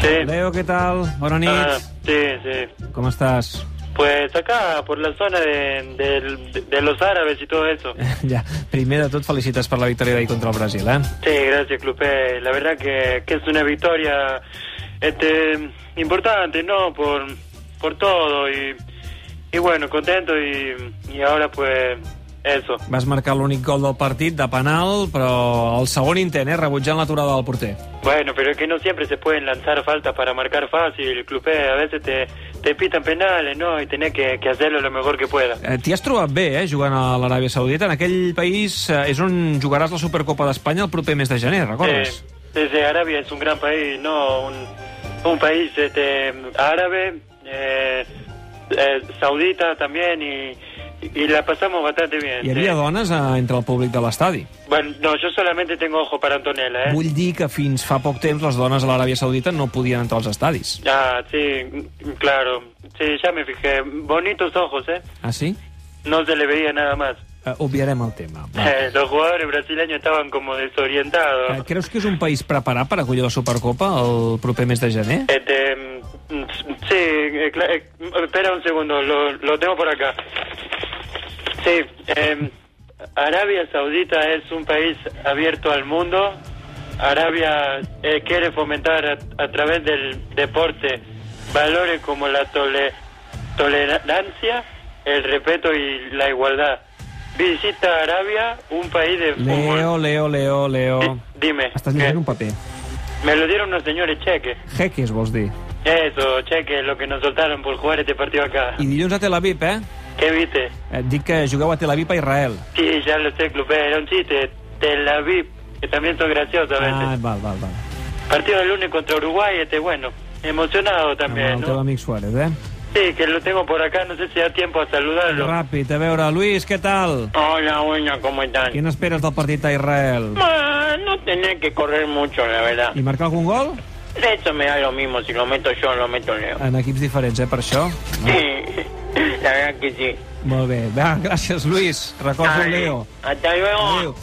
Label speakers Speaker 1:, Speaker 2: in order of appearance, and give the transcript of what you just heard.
Speaker 1: Leo, ¿qué tal? Bona nit.
Speaker 2: Ah, sí, sí.
Speaker 1: ¿Cómo estás?
Speaker 2: Pues acá, por la zona de, del- de- de los árabes y todo eso.
Speaker 1: ja, primer de tot, felicites per la victòria d'ahir contra el Brasil, eh?
Speaker 2: Sí, gracias, Clupe. La verdad que, que es una victoria este, importante, ¿no? Por, por todo. Y, y bueno, contento y, y ahora pues eso.
Speaker 1: Vas marcar l'únic gol del partit, de penal, però el segon intent, eh? Rebutjant l'aturada del porter.
Speaker 2: Bueno, pero es que no siempre se pueden lanzar faltas para marcar fácil, Clupe. A veces te, te pitan penales, ¿no? Y tenés que, que hacerlo lo mejor que puedas.
Speaker 1: Eh, T'hi has trobat bé, eh, jugant a l'Aràbia Saudita. En aquell país eh, és on jugaràs la Supercopa d'Espanya el proper mes de gener, recordes?
Speaker 2: Eh, desde Arabia es un gran país, ¿no? Un, un país este, árabe, eh, eh, saudita también, y, y la pasamos bastante bien.
Speaker 1: Hi havia
Speaker 2: sí.
Speaker 1: dones eh, entre el públic de l'estadi.
Speaker 2: Bueno, no, yo solamente tengo ojo para Antonella, ¿eh?
Speaker 1: Vull dir que fins fa poc temps les dones a l'Aràbia Saudita no podien entrar als estadis.
Speaker 2: Ah, sí, mm, claro. Sí, ya me fijé. Bonitos ojos, ¿eh?
Speaker 1: Ah, sí?
Speaker 2: No se le veía nada más.
Speaker 1: Eh, obviarem el tema. Va.
Speaker 2: Eh, los jugadores brasileños estaban como desorientados.
Speaker 1: Eh, creus que és un país preparat per acollir la Supercopa el proper mes de gener?
Speaker 2: Este, mm, sí, eh, cla- eh, espera un segundo, lo, lo tengo por acá. Sí, eh, Arabia Saudita es un país abierto al mundo. Arabia eh, quiere fomentar a, a través del deporte valores como la tole- tolerancia, el respeto y la igualdad. Visita Arabia, un país de
Speaker 1: Leo,
Speaker 2: fútbol.
Speaker 1: Leo, Leo, Leo...
Speaker 2: Di- Dime,
Speaker 1: Estàs
Speaker 2: ¿qué?
Speaker 1: llegint un paper.
Speaker 2: me lo dieron unos señores cheques.
Speaker 1: Jeques, vols dir.
Speaker 2: Eso, cheque, lo que nos soltaron por jugar este partido acá.
Speaker 1: I dilluns a Tel Aviv, eh?
Speaker 2: ¿Qué viste?
Speaker 1: Et dic que jugueu a Tel Aviv a Israel.
Speaker 2: Sí, ya lo sé, Club, era un chiste. Te la vi, que también son graciosos a
Speaker 1: Ah,
Speaker 2: veces.
Speaker 1: val, val, val.
Speaker 2: Partido del lunes contra Uruguay, este bueno. Emocionado
Speaker 1: Amb
Speaker 2: también,
Speaker 1: el teu
Speaker 2: ¿no?
Speaker 1: amic Suárez, eh?
Speaker 2: Sí, que lo tengo por acá, no sé si da tiempo a saludarlo.
Speaker 1: Ràpid, a veure, Luis, què tal?
Speaker 2: Hola, buena, ¿cómo están?
Speaker 1: Què n'esperes del partit a Israel?
Speaker 2: Ma, no tenés que correr mucho, la verdad.
Speaker 1: I marcar algun gol?
Speaker 2: Eso me da lo mismo, si lo meto yo o lo meto Leo.
Speaker 1: En equips diferents, eh, per això.
Speaker 2: Sí, la verdad que sí.
Speaker 1: Molt bé. Va, gràcies, Luis. Recordo
Speaker 2: Dale,
Speaker 1: Leo.
Speaker 2: Hasta luego.
Speaker 1: Adéu.